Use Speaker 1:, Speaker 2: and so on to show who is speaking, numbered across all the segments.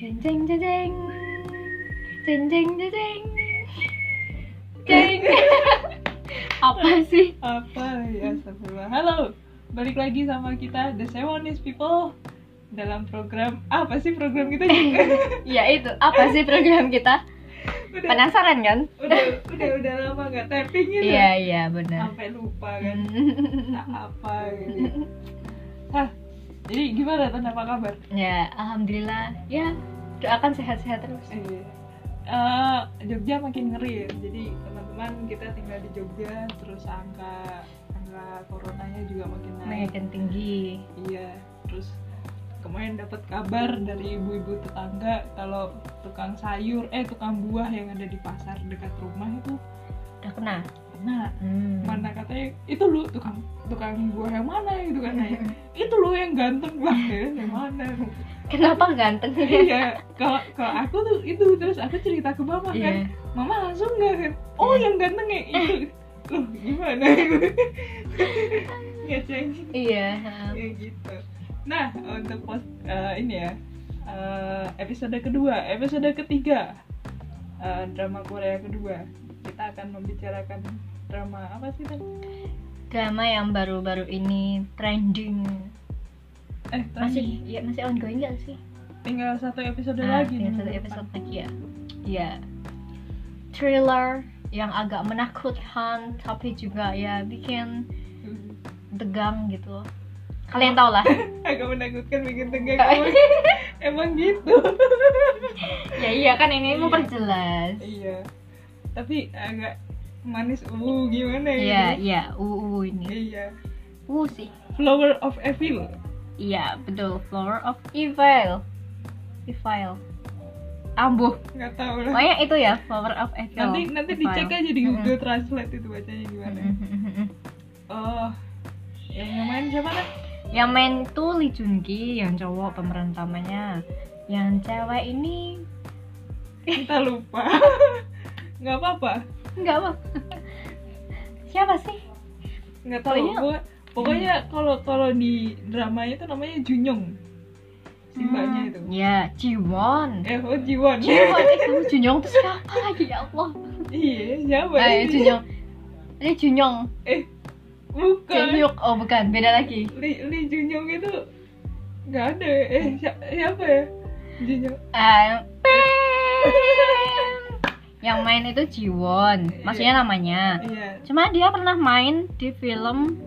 Speaker 1: Jeng jeng jeng. Jeng jeng jeng jeng. Jeng. Apa sih?
Speaker 2: apa ya astagfirullah halo balik lagi sama kita the Sewonis people dalam program apa sih program kita juga
Speaker 1: Ya itu, apa sih program kita?
Speaker 2: udah,
Speaker 1: Penasaran kan?
Speaker 2: udah udah udah lama nggak tapping gitu
Speaker 1: Iya, iya benar.
Speaker 2: sampai lupa kan tak apa gitu ya. ah jadi gimana tuh apa kabar
Speaker 1: Ya, alhamdulillah. Ya, doakan sehat-sehat terus.
Speaker 2: Iya. Eh, Jogja makin ngeri ya. Jadi teman-teman kita tinggal di Jogja terus angka angka coronanya juga makin naik.
Speaker 1: Makin tinggi.
Speaker 2: Iya. Terus kemarin dapat kabar dari ibu-ibu tetangga kalau tukang sayur eh tukang buah yang ada di pasar dekat rumah itu
Speaker 1: Udah kena.
Speaker 2: nah
Speaker 1: Hmm.
Speaker 2: mana katanya itu lu tukang tukang buah yang mana gitu kan nanya. itu lu yang ganteng lah ya yang mana
Speaker 1: Kenapa ganteng?
Speaker 2: iya kalau kalau aku tuh itu terus aku cerita ke mama kan
Speaker 1: Iya.
Speaker 2: mama langsung nggak kan oh yang ganteng ya itu loh gimana ngeceng
Speaker 1: Iya. ha.
Speaker 2: ya gitu nah untuk pos eh, ini ya eh, episode kedua episode ketiga eh, drama Korea kedua kita akan membicarakan drama apa sih tadi
Speaker 1: Drama yang baru-baru ini trending.
Speaker 2: eh tadi
Speaker 1: Masih ya masih ongoing gak sih?
Speaker 2: tinggal satu episode
Speaker 1: Ah, iya,
Speaker 2: lagi nih
Speaker 1: satu
Speaker 2: minggu
Speaker 1: episode lagi ya. Iya. Thriller yang agak menakutkan tapi juga ya bikin
Speaker 2: depan.
Speaker 1: tegang gitu. Kalian
Speaker 2: Oh.
Speaker 1: tau lah.
Speaker 2: agak menakutkan bikin tegang emang, emang gitu
Speaker 1: ya iya kan ini memperjelas.
Speaker 2: iya tapi agak manis uh gimana ya
Speaker 1: Iya, iya, uu ini.
Speaker 2: iya
Speaker 1: Uu sih.
Speaker 2: flower of evil
Speaker 1: Iya, betul. Flower of Evil. Evil. Ambuh.
Speaker 2: nggak tahu lah
Speaker 1: Pokoknya itu ya, Flower of Evil.
Speaker 2: nanti nanti
Speaker 1: Evil. Mm-hmm,
Speaker 2: dicek aja di Google Translate itu bacanya gimana oh yang main siapa kan
Speaker 1: yang main tuh Lee Jun Ki yang cowok pemeran utamanya yang cewek ini
Speaker 2: kita lupa nggak apa-apa
Speaker 1: nggak apa siapa sih
Speaker 2: nggak tahu
Speaker 1: Pokoknya- Hmm.
Speaker 2: gua pokoknya kalau kalau di dramanya itu namanya Junyong si mbaknya itu
Speaker 1: ya Jiwon
Speaker 2: eh oh Jiwon
Speaker 1: Jiwon itu Junyoung tuh siapa lagi ya Allah
Speaker 2: iya siapa
Speaker 1: eh
Speaker 2: ini?
Speaker 1: Junyoung ini Junyoung
Speaker 2: eh bukan
Speaker 1: Junhyuk oh bukan beda lagi
Speaker 2: Lee, Lee Junyoung itu nggak ada ya? eh si- siapa ya Junyoung
Speaker 1: Eh, yang main itu Jiwon maksudnya namanya
Speaker 2: iya
Speaker 1: cuma dia pernah main di film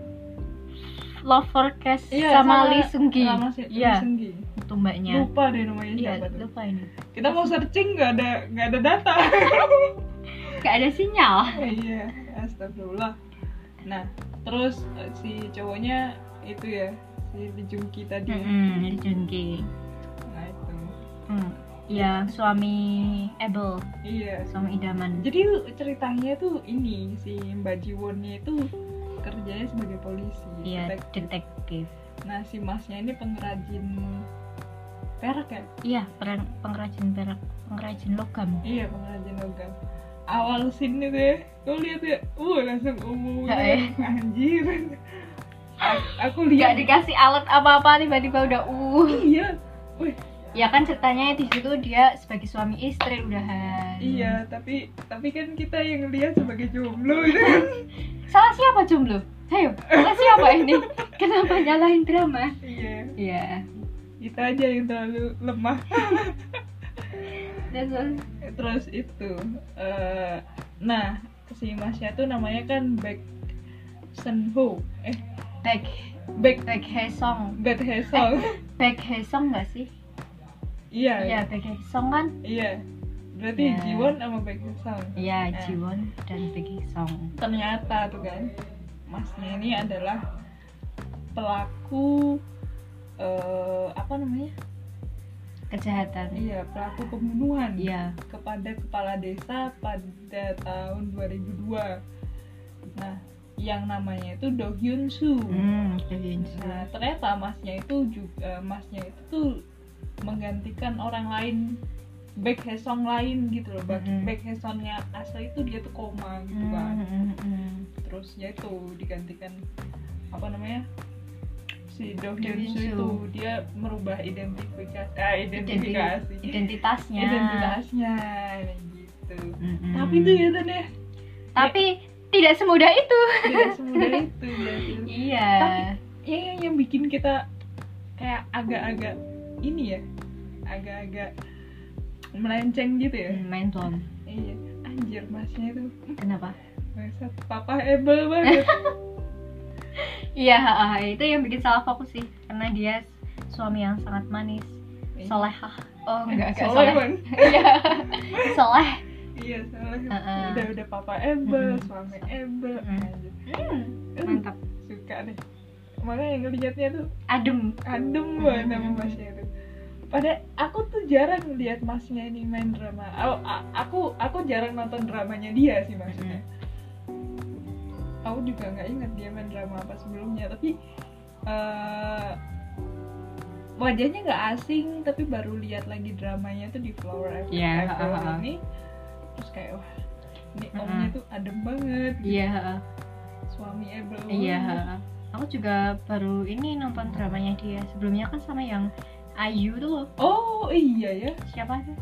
Speaker 1: Lover Case
Speaker 2: Iya,
Speaker 1: sama, Lee Seung Gi
Speaker 2: sama si- Lee
Speaker 1: iya
Speaker 2: Seung Gi.
Speaker 1: itu mbaknya
Speaker 2: lupa deh namanya
Speaker 1: Iya,
Speaker 2: siapa tuh
Speaker 1: lupa ini.
Speaker 2: kita mau searching nggak ada nggak ada data
Speaker 1: Gak ada sinyal.
Speaker 2: iya astagfirullah nah terus eh, si cowoknya itu ya si Lee Jung Ki tadi ya.
Speaker 1: Hmm, Junki.
Speaker 2: nah itu
Speaker 1: Hmm. Ya, suami Abel,
Speaker 2: iya
Speaker 1: suami idaman.
Speaker 2: jadi ceritanya tuh ini si Mbak Jiwonnya itu kerjanya sebagai polisi
Speaker 1: Iya,
Speaker 2: detektif.
Speaker 1: detektif.
Speaker 2: Nah, si masnya ini pengrajin perak ya?
Speaker 1: Iya, peren- pengrajin perak, pengrajin logam.
Speaker 2: Iya, pengrajin logam. Awal scene itu ya, lo lihat ya, uh langsung umum
Speaker 1: Ya, ya.
Speaker 2: anjir. A- aku
Speaker 1: Gak
Speaker 2: lihat
Speaker 1: dikasih alat apa-apa tiba-tiba udah uh.
Speaker 2: iya, wih
Speaker 1: Ya kan ceritanya di situ dia sebagai suami istri udahan.
Speaker 2: iya, tapi tapi kan kita yang lihat sebagai jomblo itu kan.
Speaker 1: Salah siapa jomblo? Ayo, salah siapa ini? Kenapa nyalahin drama?
Speaker 2: Iya,
Speaker 1: Iya.
Speaker 2: kita aja yang terlalu lemah.
Speaker 1: Terus
Speaker 2: Terus itu, eh, nah si masnya tuh namanya kan Baek Sun Ho, eh
Speaker 1: back
Speaker 2: Baek
Speaker 1: back Hesong.
Speaker 2: Baek Hae Song.
Speaker 1: Back Hesong gak sih? Eh.
Speaker 2: Iya,
Speaker 1: Iya, back Hesong kan?
Speaker 2: Iya. Berarti
Speaker 1: Ya.
Speaker 2: Jiwon sama Baekhyun Sang.
Speaker 1: Iya,
Speaker 2: Nah.
Speaker 1: Jiwon dan Big Song.
Speaker 2: Ternyata tuh kan, masnya ini adalah pelaku eh, apa namanya?
Speaker 1: Kejahatan.
Speaker 2: Iya, pelaku pembunuhan
Speaker 1: Iya.
Speaker 2: kepada kepala desa pada tahun 2002. Nah, yang namanya itu Do Hyun Soo.
Speaker 1: Hmm, Hyun Soo.
Speaker 2: Nah, ternyata masnya itu juga eh, masnya itu tuh menggantikan orang lain back hesong lain gitu loh. Back,
Speaker 1: Mhm.
Speaker 2: back hesongnya asli itu dia tuh koma gitu
Speaker 1: Hmm,
Speaker 2: kan.
Speaker 1: hmm, hmm.
Speaker 2: Terus ya itu digantikan apa namanya? si
Speaker 1: Do
Speaker 2: Do Hyun Soo
Speaker 1: Hyun
Speaker 2: itu
Speaker 1: Soo.
Speaker 2: dia merubah identifikasi ah,
Speaker 1: Identi-
Speaker 2: identifikasi
Speaker 1: Iya. identitasnya
Speaker 2: identitasnya kayak gitu
Speaker 1: Mm-mm.
Speaker 2: tapi itu ya Tan, ya
Speaker 1: tapi tidak semudah itu
Speaker 2: tidak semudah itu berarti
Speaker 1: iya
Speaker 2: yang yang, yang bikin kita kayak agak-agak ini ya agak-agak melenceng gitu ya
Speaker 1: Hmm, main tone
Speaker 2: iya anjir masnya itu
Speaker 1: kenapa
Speaker 2: bangsat papa ebel banget
Speaker 1: iya ha, ha, itu yang bikin salah fokus sih karena dia suami yang sangat manis solehah Iya. oh enggak enggak
Speaker 2: Soleh,
Speaker 1: soleh
Speaker 2: Bang.
Speaker 1: iya soleh
Speaker 2: iya soleh
Speaker 1: Heeh.
Speaker 2: udah udah papa ebel
Speaker 1: Mm-mm.
Speaker 2: suami ebel
Speaker 1: Mm.
Speaker 2: anjir.
Speaker 1: Hmm,
Speaker 2: Eh,
Speaker 1: mantap
Speaker 2: suka deh makanya ngelihatnya tuh
Speaker 1: adem
Speaker 2: adem banget sama masnya itu pada aku tuh jarang lihat masnya ini main drama Aku- a- aku aku jarang nonton dramanya dia sih
Speaker 1: Hmm.
Speaker 2: maksudnya aku juga nggak ingat dia main drama apa sebelumnya tapi eh, wajahnya nggak asing tapi baru lihat lagi dramanya tuh di Flower Ever
Speaker 1: Iya,
Speaker 2: Ever
Speaker 1: ha, ha, ha.
Speaker 2: ini terus kayak wah ini
Speaker 1: Mm-mm.
Speaker 2: omnya tuh adem banget gitu.
Speaker 1: iya ha, ha.
Speaker 2: suami Abel
Speaker 1: Iya, aku juga baru ini nonton dramanya dia. Sebelumnya kan sama yang Ayu tuh loh.
Speaker 2: oh iya ya
Speaker 1: Siapa tuh?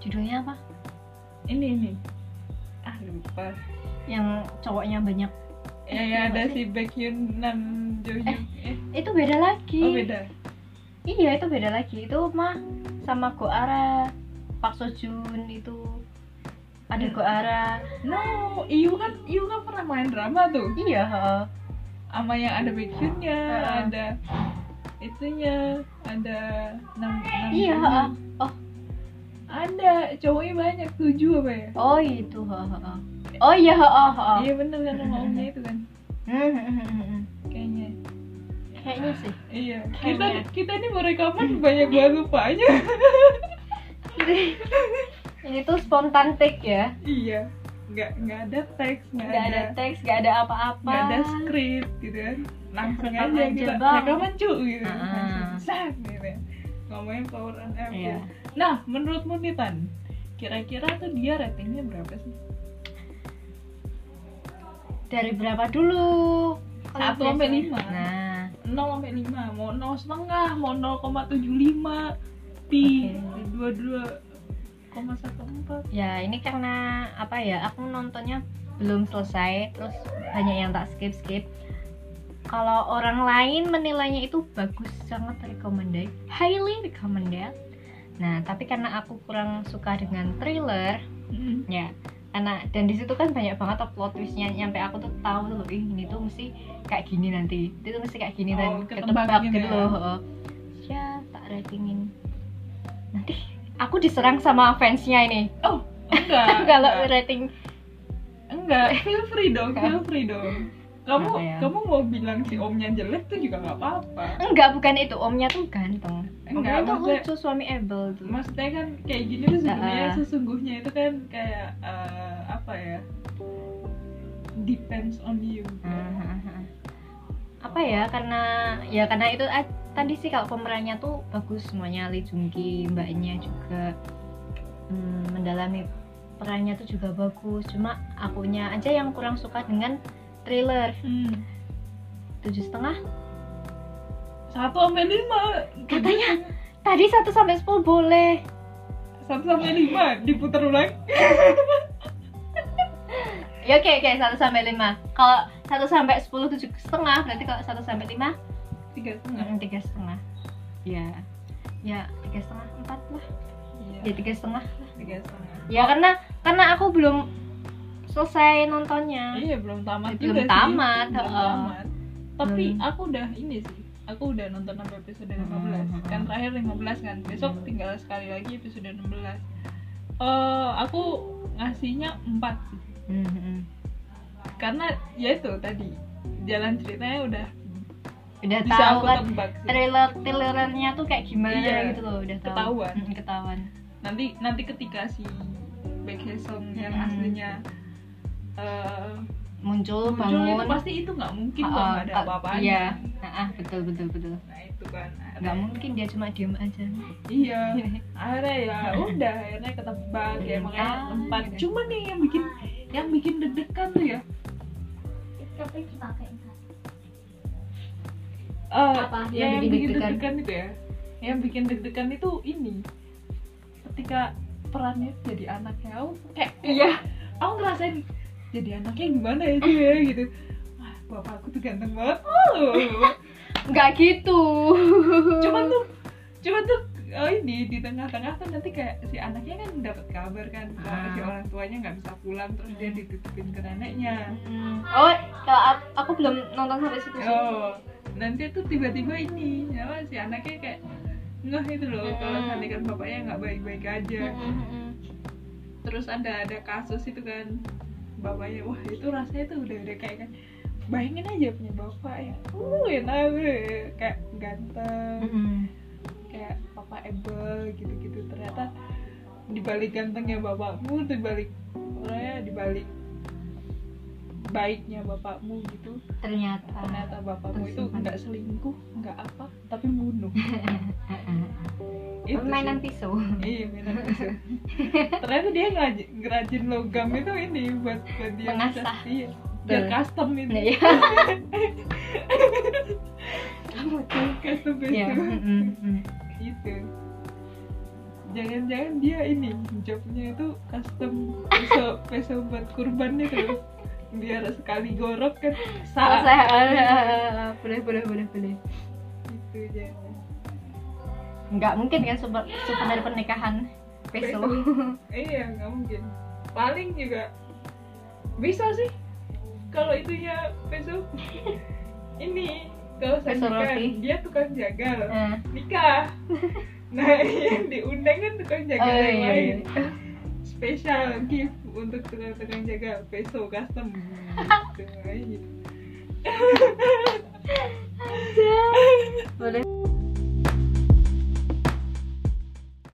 Speaker 1: Judulnya apa?
Speaker 2: ini ini ah lupa
Speaker 1: Yang cowoknya banyak.
Speaker 2: ya,
Speaker 1: Eh,
Speaker 2: ya
Speaker 1: apa
Speaker 2: ada
Speaker 1: sih?
Speaker 2: si Baekhyun Nam Johyun
Speaker 1: Eh.
Speaker 2: eh.
Speaker 1: Itu beda lagi.
Speaker 2: oh beda
Speaker 1: Iya, itu beda lagi. Itu mah sama Go Ara, Pak Sojun itu. Ada
Speaker 2: Iya.
Speaker 1: Go Ara.
Speaker 2: no Iu kan Iu kan pernah main drama tuh
Speaker 1: Iya, heeh.
Speaker 2: sama yang ada Baekhyunnya
Speaker 1: Ah.
Speaker 2: ada itunya ada Nam Nam
Speaker 1: Iya,
Speaker 2: Johyun.
Speaker 1: heeh. Oh.
Speaker 2: ada cowoknya banyak tujuh apa ya
Speaker 1: Oh, itu, heeh, heeh. Oh iya, heeh, heeh.
Speaker 2: iya bener kan sama omnya itu kan
Speaker 1: Hmm, hmm, hmm, hmm, hmm.
Speaker 2: kayaknya
Speaker 1: Kayaknya sih.
Speaker 2: iya kita
Speaker 1: Kayaknya.
Speaker 2: kita nih mau rekaman banyak banget lupanya
Speaker 1: Ini tuh spontan take ya.
Speaker 2: iya nggak nggak ada teks nggak
Speaker 1: Gak ada teks, gak ada apa-apa. Iya.
Speaker 2: nggak ada skrip gitu kan langsung
Speaker 1: Rekaman
Speaker 2: aja
Speaker 1: aja,
Speaker 2: kita
Speaker 1: Bang.
Speaker 2: rekaman cu gitu
Speaker 1: Ah.
Speaker 2: langsung sak gitu ya. ngomongin power on Apple
Speaker 1: Iya.
Speaker 2: nah menurutmu nih Tan kira-kira tuh dia ratingnya berapa sih
Speaker 1: Dari berapa dulu? Kalau
Speaker 2: Satu
Speaker 1: biasa-
Speaker 2: sampai lima.
Speaker 1: Nah,
Speaker 2: 0 sampai 5 mau 0 setengah mau 0,75 pi
Speaker 1: Oke.
Speaker 2: 22,14
Speaker 1: ya ini karena apa ya? Aku nontonnya belum selesai, terus banyak yang tak skip skip. Kalau orang lain menilainya itu bagus, sangat recommended, highly recommended. Nah, tapi karena aku kurang suka dengan thriller,
Speaker 2: Mm.
Speaker 1: ya karena dan di situ kan banyak banget tuh plot twistnya nyampe aku tuh tahu tuh ih ini tuh mesti kayak gini nanti itu tuh mesti kayak gini
Speaker 2: Oh,
Speaker 1: dan
Speaker 2: ketebak
Speaker 1: ketebak
Speaker 2: gitu
Speaker 1: gitu
Speaker 2: ya.
Speaker 1: loh heeh. ya tak ratingin nanti aku diserang sama fansnya ini
Speaker 2: oh enggak
Speaker 1: kalau
Speaker 2: enggak.
Speaker 1: rating
Speaker 2: enggak feel free dong feel free dong kamu
Speaker 1: Apa ya?
Speaker 2: kamu mau bilang si omnya jelek tuh juga nggak apa-apa
Speaker 1: enggak bukan itu omnya tuh ganteng omnya
Speaker 2: Enggak,
Speaker 1: tuh
Speaker 2: maksudnya-
Speaker 1: lucu suami Abel tuh
Speaker 2: maksudnya kan kayak gini tuh sebenarnya
Speaker 1: Nah.
Speaker 2: sesungguhnya itu kan kayak eh, apa ya depends on you
Speaker 1: Mm-hmm. apa ya karena ya karena itu ah, tadi sih kalau pemerannya tuh bagus semuanya Lee Jung Ki mbaknya juga mm, mendalami perannya tuh juga bagus cuma akunya aja yang kurang suka dengan thriller
Speaker 2: Hmm.
Speaker 1: tujuh setengah
Speaker 2: satu sampai lima
Speaker 1: katanya tadi 1 sampai 10 boleh
Speaker 2: satu sampai lima diputar ulang
Speaker 1: ya oke oke 1 sampai 5 kalau 1 sampai 10 tujuh setengah berarti kalau 1 sampai 5
Speaker 2: tiga setengah
Speaker 1: mm, tiga setengah ya ya tiga setengah empat lah ya
Speaker 2: iya
Speaker 1: tiga setengah
Speaker 2: tiga setengah
Speaker 1: ya karena karena aku belum selesai nontonnya
Speaker 2: iya belum tamat
Speaker 1: Belum
Speaker 2: juga sih.
Speaker 1: tamat,
Speaker 2: belum
Speaker 1: heeh.
Speaker 2: tamat Hmm. tapi
Speaker 1: Belum.
Speaker 2: aku udah ini sih aku udah nonton sampai episode 15
Speaker 1: Hmm.
Speaker 2: kan terakhir 15 kan besok
Speaker 1: Hmm.
Speaker 2: tinggal sekali lagi episode 16 eh aku ngasihnya empat sih
Speaker 1: Mm-hmm.
Speaker 2: karena ya itu tadi jalan ceritanya udah
Speaker 1: udah
Speaker 2: bisa
Speaker 1: tahu
Speaker 2: aku
Speaker 1: kan
Speaker 2: tebak sih.
Speaker 1: trailer trailernya tuh kayak gimana
Speaker 2: Iya,
Speaker 1: gitu loh udah tahu
Speaker 2: ketahuan.
Speaker 1: Mm, ketahuan
Speaker 2: nanti nanti ketika si Baek Hye-sung yang
Speaker 1: Mm-mm.
Speaker 2: aslinya eh,
Speaker 1: muncul,
Speaker 2: muncul
Speaker 1: bangun
Speaker 2: itu pasti itu nggak mungkin
Speaker 1: Ah,
Speaker 2: kok
Speaker 1: ah,
Speaker 2: nggak ada
Speaker 1: ah,
Speaker 2: apa-apanya
Speaker 1: iya Ah, ah, betul betul betul
Speaker 2: nah itu kan akhirnya-
Speaker 1: nggak mungkin dia cuma diem aja
Speaker 2: iya akhirnya ya udah akhirnya ketebak ya makanya
Speaker 1: Ah,
Speaker 2: tempat
Speaker 1: gitu.
Speaker 2: cuman nih yang bikin yang bikin deg-degan tuh ya Eh,
Speaker 1: Apa?
Speaker 2: ya,
Speaker 1: Yang
Speaker 2: yang,
Speaker 1: bikin
Speaker 2: bikin
Speaker 1: deg-degan.
Speaker 2: deg-degan itu ya yang bikin deg-degan itu ini ketika perannya jadi anaknya aku kayak
Speaker 1: Iya.
Speaker 2: aku ngerasain jadi anaknya gimana ya dia gitu wah bapakku tuh ganteng banget oh
Speaker 1: nggak gitu
Speaker 2: cuman tuh cuman tuh oh ini di tengah-tengah tuh nanti kayak si anaknya kan dapat kabar kan kalau
Speaker 1: Ah.
Speaker 2: si orang tuanya nggak bisa pulang terus dia dititipin ke neneknya
Speaker 1: Hmm. oh ya, a- aku belum nonton sampai situ sih
Speaker 2: oh nanti tuh tiba-tiba ini apa si anaknya kayak ngeh itu loh kalau
Speaker 1: Hmm.
Speaker 2: seandainya kan bapaknya nggak baik-baik aja
Speaker 1: Hmm.
Speaker 2: terus ada ada kasus itu kan bapaknya wah itu rasanya tuh udah udah kayak kan bayangin aja punya bapak ya uh enak gue kayak ganteng
Speaker 1: Hmm.
Speaker 2: kayak papa Abel gitu-gitu ternyata dibalik gantengnya bapakmu dibalik orangnya dibalik baiknya bapakmu gitu
Speaker 1: ternyata
Speaker 2: ternyata bapakmu itu
Speaker 1: Tersimpan.
Speaker 2: nggak selingkuh nggak apa tapi bunuh Itu
Speaker 1: permainan
Speaker 2: sih.
Speaker 1: pisau
Speaker 2: iya mainan pisau ternyata dia ngerajin, ngerajin logam itu ini buat, buat dia bisa-
Speaker 1: Mengasah.
Speaker 2: iya biar
Speaker 1: Betul.
Speaker 2: custom itu
Speaker 1: Nah, iya. kamu tuh
Speaker 2: custom
Speaker 1: ya
Speaker 2: itu gitu jangan-jangan dia ini jobnya itu custom peso peso buat kurban itu biar sekali gorok kan saat
Speaker 1: boleh boleh boleh boleh
Speaker 2: gitu jangan
Speaker 1: nggak mungkin kan super dari pernikahan peso
Speaker 2: iya nggak mungkin paling juga bisa sih kalau itunya peso ini kalau saya
Speaker 1: Peso roti.
Speaker 2: dia tukang jagal
Speaker 1: Eh,
Speaker 2: nikah nah yang diundang kan tukang jagal
Speaker 1: Oh,
Speaker 2: yang
Speaker 1: iya,
Speaker 2: lain
Speaker 1: iya.
Speaker 2: spesial gift untuk tukang-tukang jagal peso custom Gitu, kayak gitu.
Speaker 1: iya. boleh